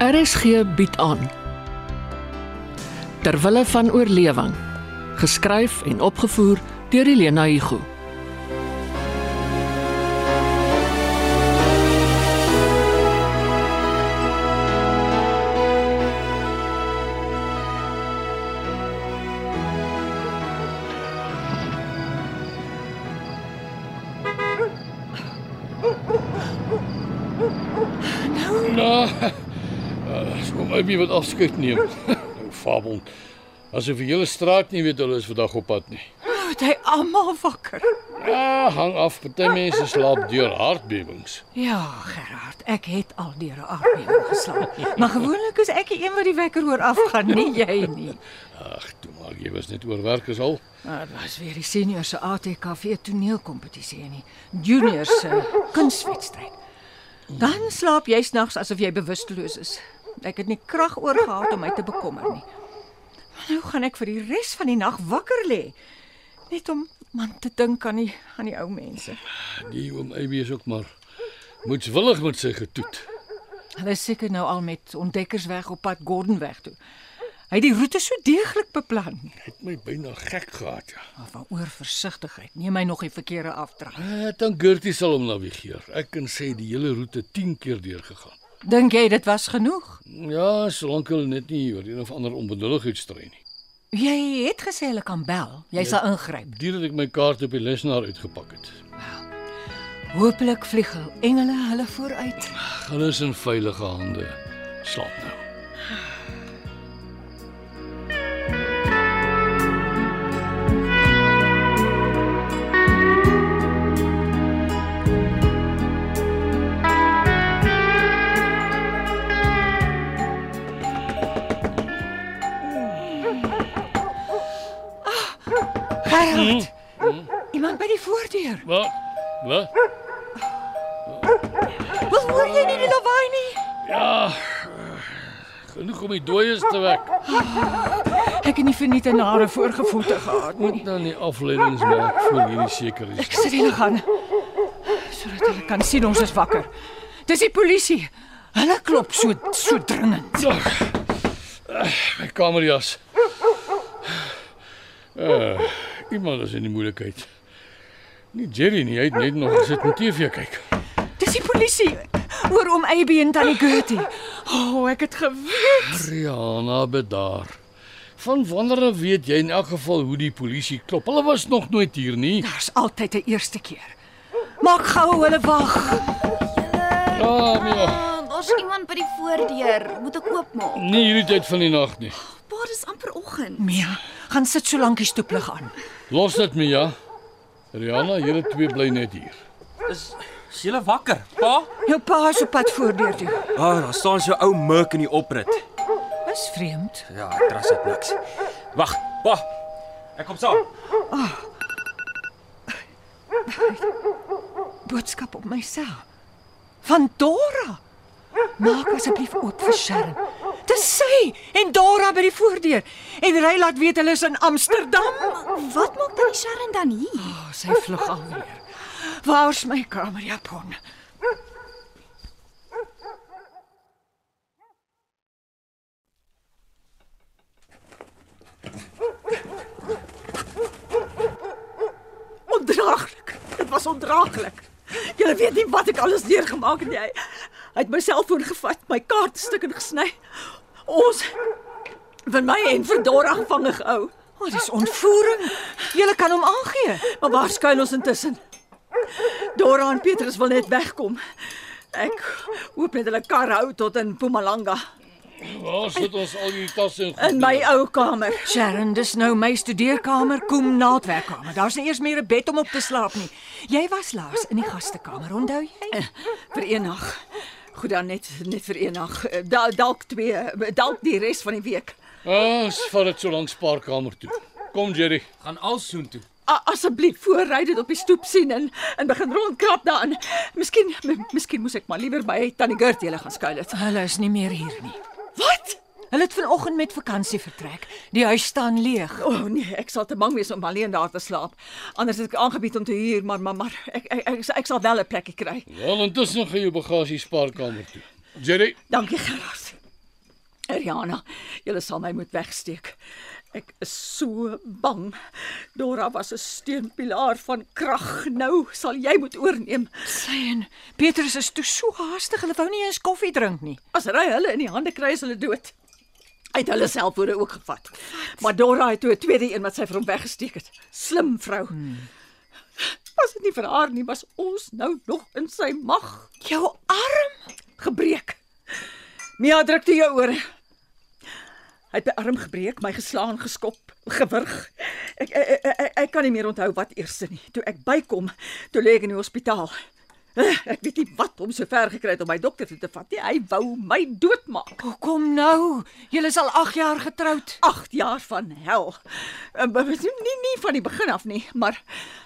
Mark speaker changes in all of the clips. Speaker 1: RSG bied aan Terwille van oorlewing geskryf en opgevoer deur Elena Igu
Speaker 2: Nou, eh, dis kom uit wie wat afskeid neem. Nou fabel. Asof die hele straat nie weet hulle is vandag op pad nie.
Speaker 3: Moet hy almal wakker?
Speaker 2: Ja, hang af, party mense slaap deur hartbewings.
Speaker 3: Ja, Gerard, ek het al deur 'n aardbewing geslaap. Maar gewoonlik is ek die een wat die wekker hoor afgaan, nie jy nie.
Speaker 2: Ag, toe maar jy was net oorwerk is al.
Speaker 3: Maar dit was weer die senior se ATKV toneelkompetisie en die junior se kunstwedstryd. Dan slaap jy snags asof jy bewusteloos is. Ek het nie krag oor gehad om my te bekommer nie. Maar nou gaan ek vir die res van die nag wakker lê. Net om man te dink aan die aan die ou mense.
Speaker 2: Die oom Abby is ook maar moetswillig met sy getoet.
Speaker 3: Hulle is seker nou al met ontdekkers weg op pad Gordonweg toe. Hy het die roete so deeglik beplan.
Speaker 2: Het my byna gek gehad. Ja.
Speaker 3: Maar van oorversigtigheid neem hy nog die verkeerde afdrag.
Speaker 2: Ek dink Eh, Gertie sal hom navigeer. Ek kan sê die hele roete 10 keer deurgegaan.
Speaker 3: Dink jy dit was genoeg?
Speaker 2: Ja, solank hulle net nie oor een of ander onbenulligheid strei nie.
Speaker 3: Jy het gesê hulle kan bel. Jy sal ingryp.
Speaker 2: Deur dat ek my kaart op die lesenaar uitgepak het.
Speaker 3: Hooplik vlieg hulle engele hulle vooruit.
Speaker 2: Ag, Hulle is in veilige hande. Slaap nou.
Speaker 3: Gerard. Iemand by die voordeur.
Speaker 2: Hmm, Wat? Wat?
Speaker 3: Wil hoor jy nie die lawaai nie?
Speaker 2: Ja. eh, Genoeg om die dooies te wek.
Speaker 3: Ek het nie vir net 'n nare voorgevoete gehad nie.
Speaker 2: Moet nou nie afleidings maak vir hierdie seker
Speaker 3: Ek
Speaker 2: is.
Speaker 3: sit hier gaan sodat hulle kan sien ons is wakker. Dis die polisie. Hulle klop so so dringend.
Speaker 2: Ja. Eh, My kamerjas. Uh, iemand is in die moeilikheid. Nie Jerry nie, hy het net nog gesit en TV kyk.
Speaker 3: Dis die polisie oor om AB en Tannie Gertie. O, oh, ek het geweet.
Speaker 2: Rihanna bedaar. Van wondere weet jy in elk geval hoe die polisie klop. Hulle was nog nooit hier nie.
Speaker 3: Daar's altyd 'n eerste keer. Maak gou hulle wag.
Speaker 2: Ah, ja.
Speaker 4: Ah, Daar's iemand by die voordeur. Moet ek oopmaak?
Speaker 2: Nie Nee, hierdie tyd van die nag nie.
Speaker 4: Pa, dis amper oggend.
Speaker 3: Mia, gaan sit so lank die stoeplig aan.
Speaker 2: Los dit my ja. Rihanna, julle twee bly net hier.
Speaker 5: Is is jy wakker? Pa?
Speaker 3: Jou pa is op pad voordeur toe.
Speaker 5: Ah, oh, daar staan so 'n ou murk in die oprit.
Speaker 3: Is vreemd.
Speaker 5: Ja, ek tras dit niks. Wag, pa. Ek kom saam.
Speaker 3: Boodskap op my sel. Van Dora. Maak asseblief oop vir Sharon. Dis sy en Dora by die voordeur. En ry laat weet hulle is in Amsterdam.
Speaker 4: Wat maak tannie Sharon dan hier?
Speaker 3: Oh, sy vlug alweer. Waar's my kamerjapon?
Speaker 6: Ondraaglik. Dit was ondraaglik. Jy weet nie wat ek alles deurgemaak het nie. Hy, hy het my selfoon gevat, my kaart stukken gesny. Ons van my en verdor gevange gehou.
Speaker 3: Wat oh, is ontvoering? Jy kan hom aangee.
Speaker 6: Maar waar skuil ons intussen? Dora en Petrus wil net wegkom. Ek hoop net hulle kar hou tot in Mpumalanga
Speaker 2: Waar sit ons al die tasse en goed?
Speaker 6: in my ou kamer.
Speaker 3: Sharon, dis nou my studeerkamer, kom na die werkkamer. Daar's nie eers meer 'n bed om op te slaap nie. Jy was laas in die gastekamer, onthou jy?
Speaker 6: vir een nag. Goed dan net net vir een nag. Da, dalk twee, dalk die res van die week.
Speaker 2: Ons Ah, vat dit so lank spaarkamer toe. Kom Jerry.
Speaker 5: Gaan al soen toe.
Speaker 6: A- Asseblief voorry dit op die stoep sien en en begin rondkrap daarin. Miskien m- miskien moet ek maar liewer by Tannie Gertie hulle gaan skuil het.
Speaker 3: Hulle is nie meer hier nie.
Speaker 6: Wat?
Speaker 3: Hulle het vanoggend met vakansie vertrek. Die huis staan leeg.
Speaker 6: O oh, nee, ek sal te bang wees om alleen daar te slaap. Anders het ek aangebied om te huur, maar maar, maar ek, ek ek ek sal wel 'n plekkie kry.
Speaker 2: Wel intussen gaan jou bagasie spaarkamer toe. Jerry,
Speaker 6: Dankie Gerard. Rihanna, julle sal my moet wegsteek. Ek is so bang. Dora was 'n steunpilaar van krag. Nou sal jy moet oorneem.
Speaker 3: Sien, Petrus is toe so haastig, hulle wou nie eens koffie drink nie.
Speaker 6: As ry hulle in die hande kry is hulle dood. Hy het hulle selfbode ook gevat. Maar Dora het toe 'n tweede een wat sy vir hom weggesteek het. Slim vrou. Hmm. Was dit nie vir haar nie, was ons nou nog in sy mag.
Speaker 3: Jou arm
Speaker 6: Gebreek. Mia druk toe jou oor. Hy het my arm gebreek, my geslaan, geskop, gewurg. Ek ek, ek, ek, ek kan nie meer onthou wat eerste nie. Toe ek bykom, toe lê ek in die hospitaal. Ek weet nie wat hom so ver gekry het om my dokter toe te vat nie. Hy wou my doodmaak.
Speaker 3: Hoekom nou? Julle is al 8 jaar getroud.
Speaker 6: 8 jaar van hel. Eh, maar was Nie nie van die begin af nie, maar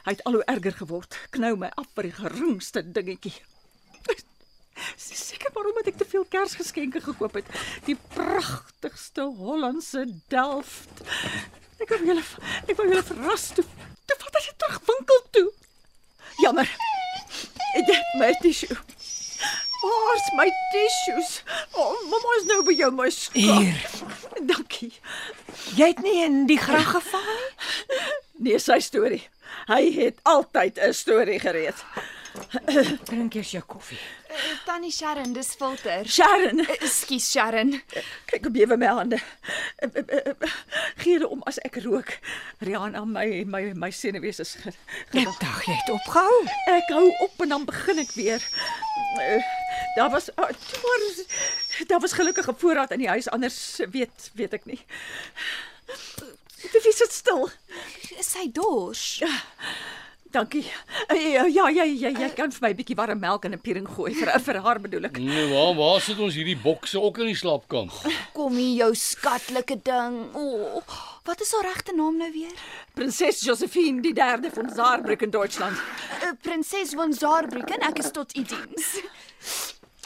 Speaker 6: hy het al hoe erger geword. Knou my af vir die geringste dingetjie. Dis seker maar omdat ek te veel Kersgeskenke gekoop het. Die pragtigste Hollandse Delft. Ek wou julle ek wou julle verras toe. Toe vat hy dit terug winkel toe. Jammer. Ek het my tissue. Waar's my tissues? Oh, mamma is nou by jou my skat.
Speaker 3: Hier.
Speaker 6: Dankie.
Speaker 3: Jy het nie in die grag geval nie.
Speaker 6: Nee, sy storie. Hy het altyd 'n storie gereed.
Speaker 3: Drink eers jou koffie.
Speaker 4: Tannie Sharon, dis filter.
Speaker 6: Sharon,
Speaker 4: Ekskuus Sharon.
Speaker 6: kyk op bewe my hande. Eh, Geere om as ek rook. Rihanna, my my my senuwees is ge- gewag.
Speaker 3: Ek dink jy het opgehou.
Speaker 6: Ek hou op en dan begin ek weer. Eh, Daar was ah, toe maar daar was gelukkige voorraad in die huis anders weet weet ek nie. Wie sit stil?
Speaker 4: Is hy dors?
Speaker 6: Dankie. Eh, Ja ja ja ja jy kan vir my 'n bietjie warm melk in 'n piering gooi vir vir haar bedoel ek.
Speaker 2: Nee, waar waar sit ons hierdie bokse ook in die slaapkamer?
Speaker 4: Kom hier jou skatlike ding. O, oh, wat is haar regte naam nou weer?
Speaker 6: Prinses Josephine die derde van Saarbrück in Duitsland.
Speaker 4: Uh, Prinses von Saarbrücken, ek is tot u diens.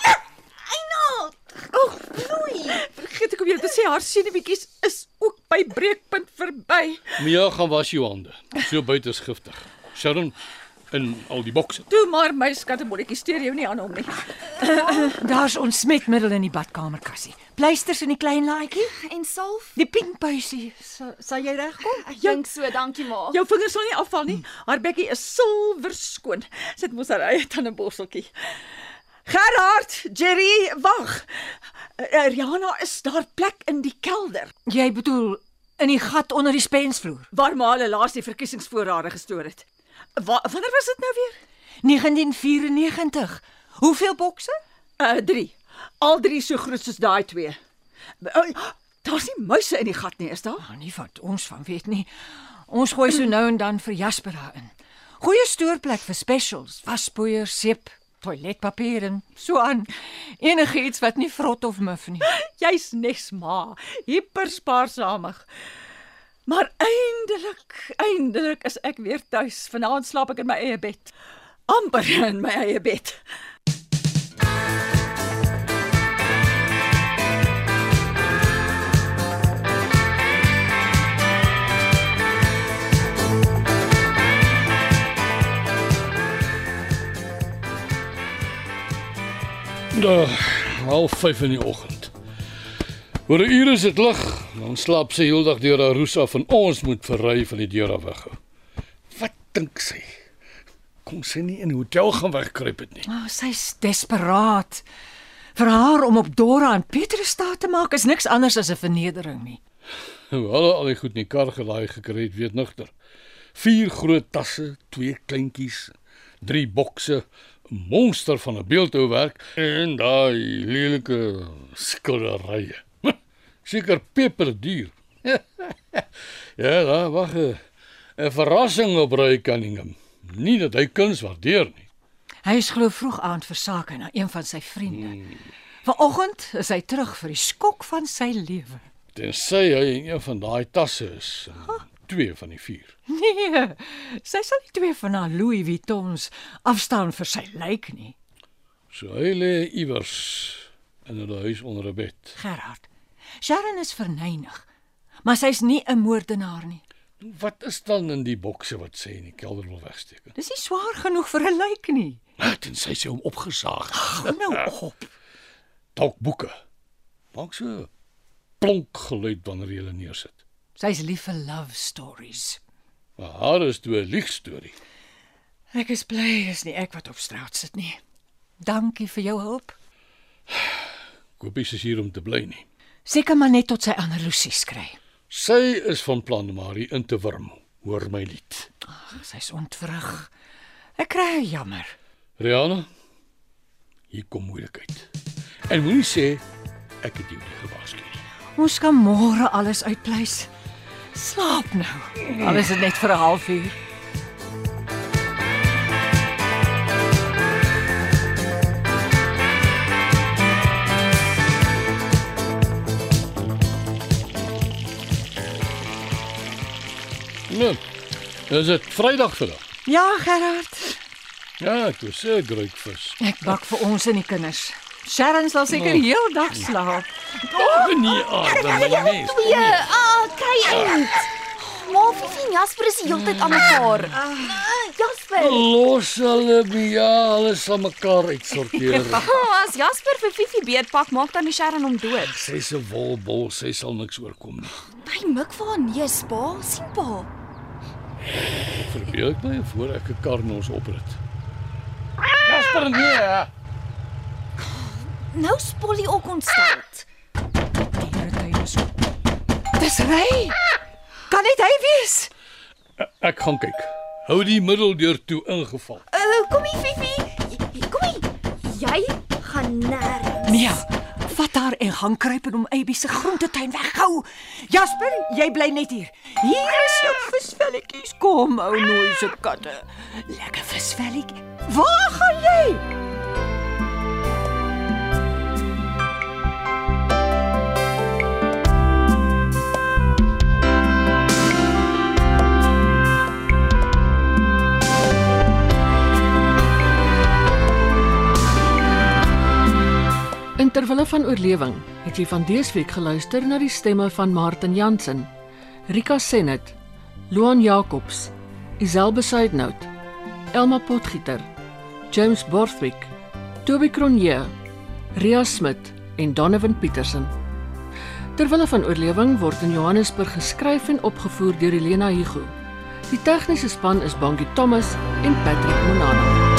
Speaker 4: Einaat.
Speaker 6: Oeg, noei. Vergeet ek om jou te sê haar senuweekies is ook by breekpunt verby.
Speaker 2: Mia gaan was jou hande. So buite is giftig. Sharon in al die bokse.
Speaker 6: Toe maar my skattebolletjie steur jou nie aan hom nie.
Speaker 3: Daar's ons smetmiddel in die badkamerkassie. Pleisters in die klein laadjie.
Speaker 4: En salf?
Speaker 3: Die pinkpuisie. Sal, sal jy regkom?
Speaker 4: Ek dink so, dankie ma.
Speaker 6: Jou vingers sal nie afval nie. Haar bekkie is silwer skoon. Sit mos haar eie tandeborseltjie. Gerard, Jerry, wag. Eh, Rihanna is daar plek in die kelder
Speaker 3: Jy bedoel in die gat onder die spensvloer.
Speaker 6: waar maar hulle laas die verkiesingsvoorrade gestoor het. Wa wanneer was dit nou weer?
Speaker 3: 1994. Hoeveel bokse?
Speaker 6: Uh 3. Al drie so groot soos daai twee. Oh, Daar's nie muise in die gat nie, is daar?
Speaker 3: Nou nie wat ons van weet nie. Ons gooi so nou en dan vir Jasper daarin. Goeie stoorplek vir specials, waspoeier, seep, toiletpapier en so aan. Enigiets wat nie vrot of muf nie.
Speaker 6: Jy's nes ma, hyperspaarsamig. Maar eindelik, eindelik is ek weer tuis. Vanaand slaap ek in my eie bed. amper in my eie bed.
Speaker 2: Uh, half 5 in die oggend. Oor 'n uur is dit lig. Dan slaap sy heeldag deur haar roes af en ons moet verry van die deur af weg. Wat dink sy? Kom sy nie in die hotel gaan wegkruip het nie.
Speaker 3: Oh, sy's desperaat. Vir haar om op Dora en Petrus staat te maak is niks anders as 'n vernedering nie.
Speaker 2: Hoe Nou, hulle al die goed in die kar gelaai gekry het, weet nigter. Vier groot tasse, twee kleintjies, drie bokse, 'n monster van 'n beeldhouwerk en daai lelike skilderye. Hm, Seker peperduur. ja, daar wag 'n 'n verrassing op Roy Cunningham. Nie dat hy kuns waardeer nie.
Speaker 3: Hy is glo vroeg aand versake na een van sy vriende. Vanoggend is hy terug vir die skok van sy lewe.
Speaker 2: Tensy hy in een van daai tasse is, eh, twee van die vier.
Speaker 3: Nee, sy sal nie twee van haar Louis Vuittons afstaan vir sy lyk nie,
Speaker 2: So hy lê iewers in 'n huis onder 'n bed.
Speaker 3: Gerard. Sharon is verneig, maar sy's nie 'n moordenaar nie.
Speaker 2: Wat is dan in die bokse wat sy in die kelder wil wegsteek?
Speaker 3: Dis nie swaar genoeg vir 'n lyk nie.
Speaker 2: Dit Ah, sy sy hom opgesaag.
Speaker 3: Hou nou op.
Speaker 2: Dalk boeke. Maak so plonk geluid wanneer jy hulle neersit.
Speaker 3: Sy's lief vir love stories.
Speaker 2: Maar haar is toe 'n liegstorie.
Speaker 3: Ek is bly is nie ek wat op straat sit nie. Dankie vir jou hulp.
Speaker 2: Koopies is hier om te bly nie.
Speaker 3: Seker maar net tot sy ander Lucies kry.
Speaker 2: Sy is van plan om haar hier in te wurm. Hoor my lied.
Speaker 3: Ag, sy's ontwrig. Ek kry haar jammer.
Speaker 2: Rihanna, hier kom moeilikheid. En moenie sê ek het jou nie gewaarsku nie.
Speaker 3: Ons kan môre alles uitpleis. Slaap nou. Al is dit net vir 'n halfuur.
Speaker 2: Nou, is dit Vrydag vandag?
Speaker 3: Ja, Gerard.
Speaker 2: Ja, ek is seker ek vis.
Speaker 3: Ek bak vir ons en die kinders. Sharon sal seker oh. heel dag slaap.
Speaker 2: Oh, nee, Adam, my mens.
Speaker 4: Twee, ah, kry uit. Maar Fifi en Jasper is die hele tyd aan mekaar. Jasper,
Speaker 2: Los hulle ja, hulle sal mekaar uitsorteer.
Speaker 4: oh, as Jasper vir Fifi beetpak, maak dan die Sharon hom dood.
Speaker 2: Sy se wolbol, sy sal niks oorkom nie.
Speaker 4: Hy mik vir haar neus, pa. sien pa.
Speaker 2: Verbeel ek my voor ek 'n kar na ons oprit. Jasper nee.
Speaker 4: Nou spol hy ook ontsteld.
Speaker 3: Dis hy. Kan dit hy wees?
Speaker 2: Ek gaan kyk. Hou die middeldeur toe ingeval.
Speaker 4: Uh, kom hier Fifi. Kom hier. Jy gaan nêrens.
Speaker 3: Nee. Vat haar en gaan kruip in om Abby se groentetuin weghou. Jasper, jy bly net hier. Hier is jou visvelletjies. Kom, ou nooi se katte. Lekker visvelletjie. Waar gaan jy?
Speaker 1: In terwille van oorlewing het jy van dese week geluister na die stemme van Martin Jansen, Rika Senet, Loan Jacobs, Isel Besuidnout, Elma Potgieter, James Borthwick, Toby Cronje, Ria Smit en Donovan Petersen. Terwille van oorlewing word in Johannesburg geskryf en opgevoer deur Elena Hugo. Die tegniese span is Bongie Thomas en Patrick Monano.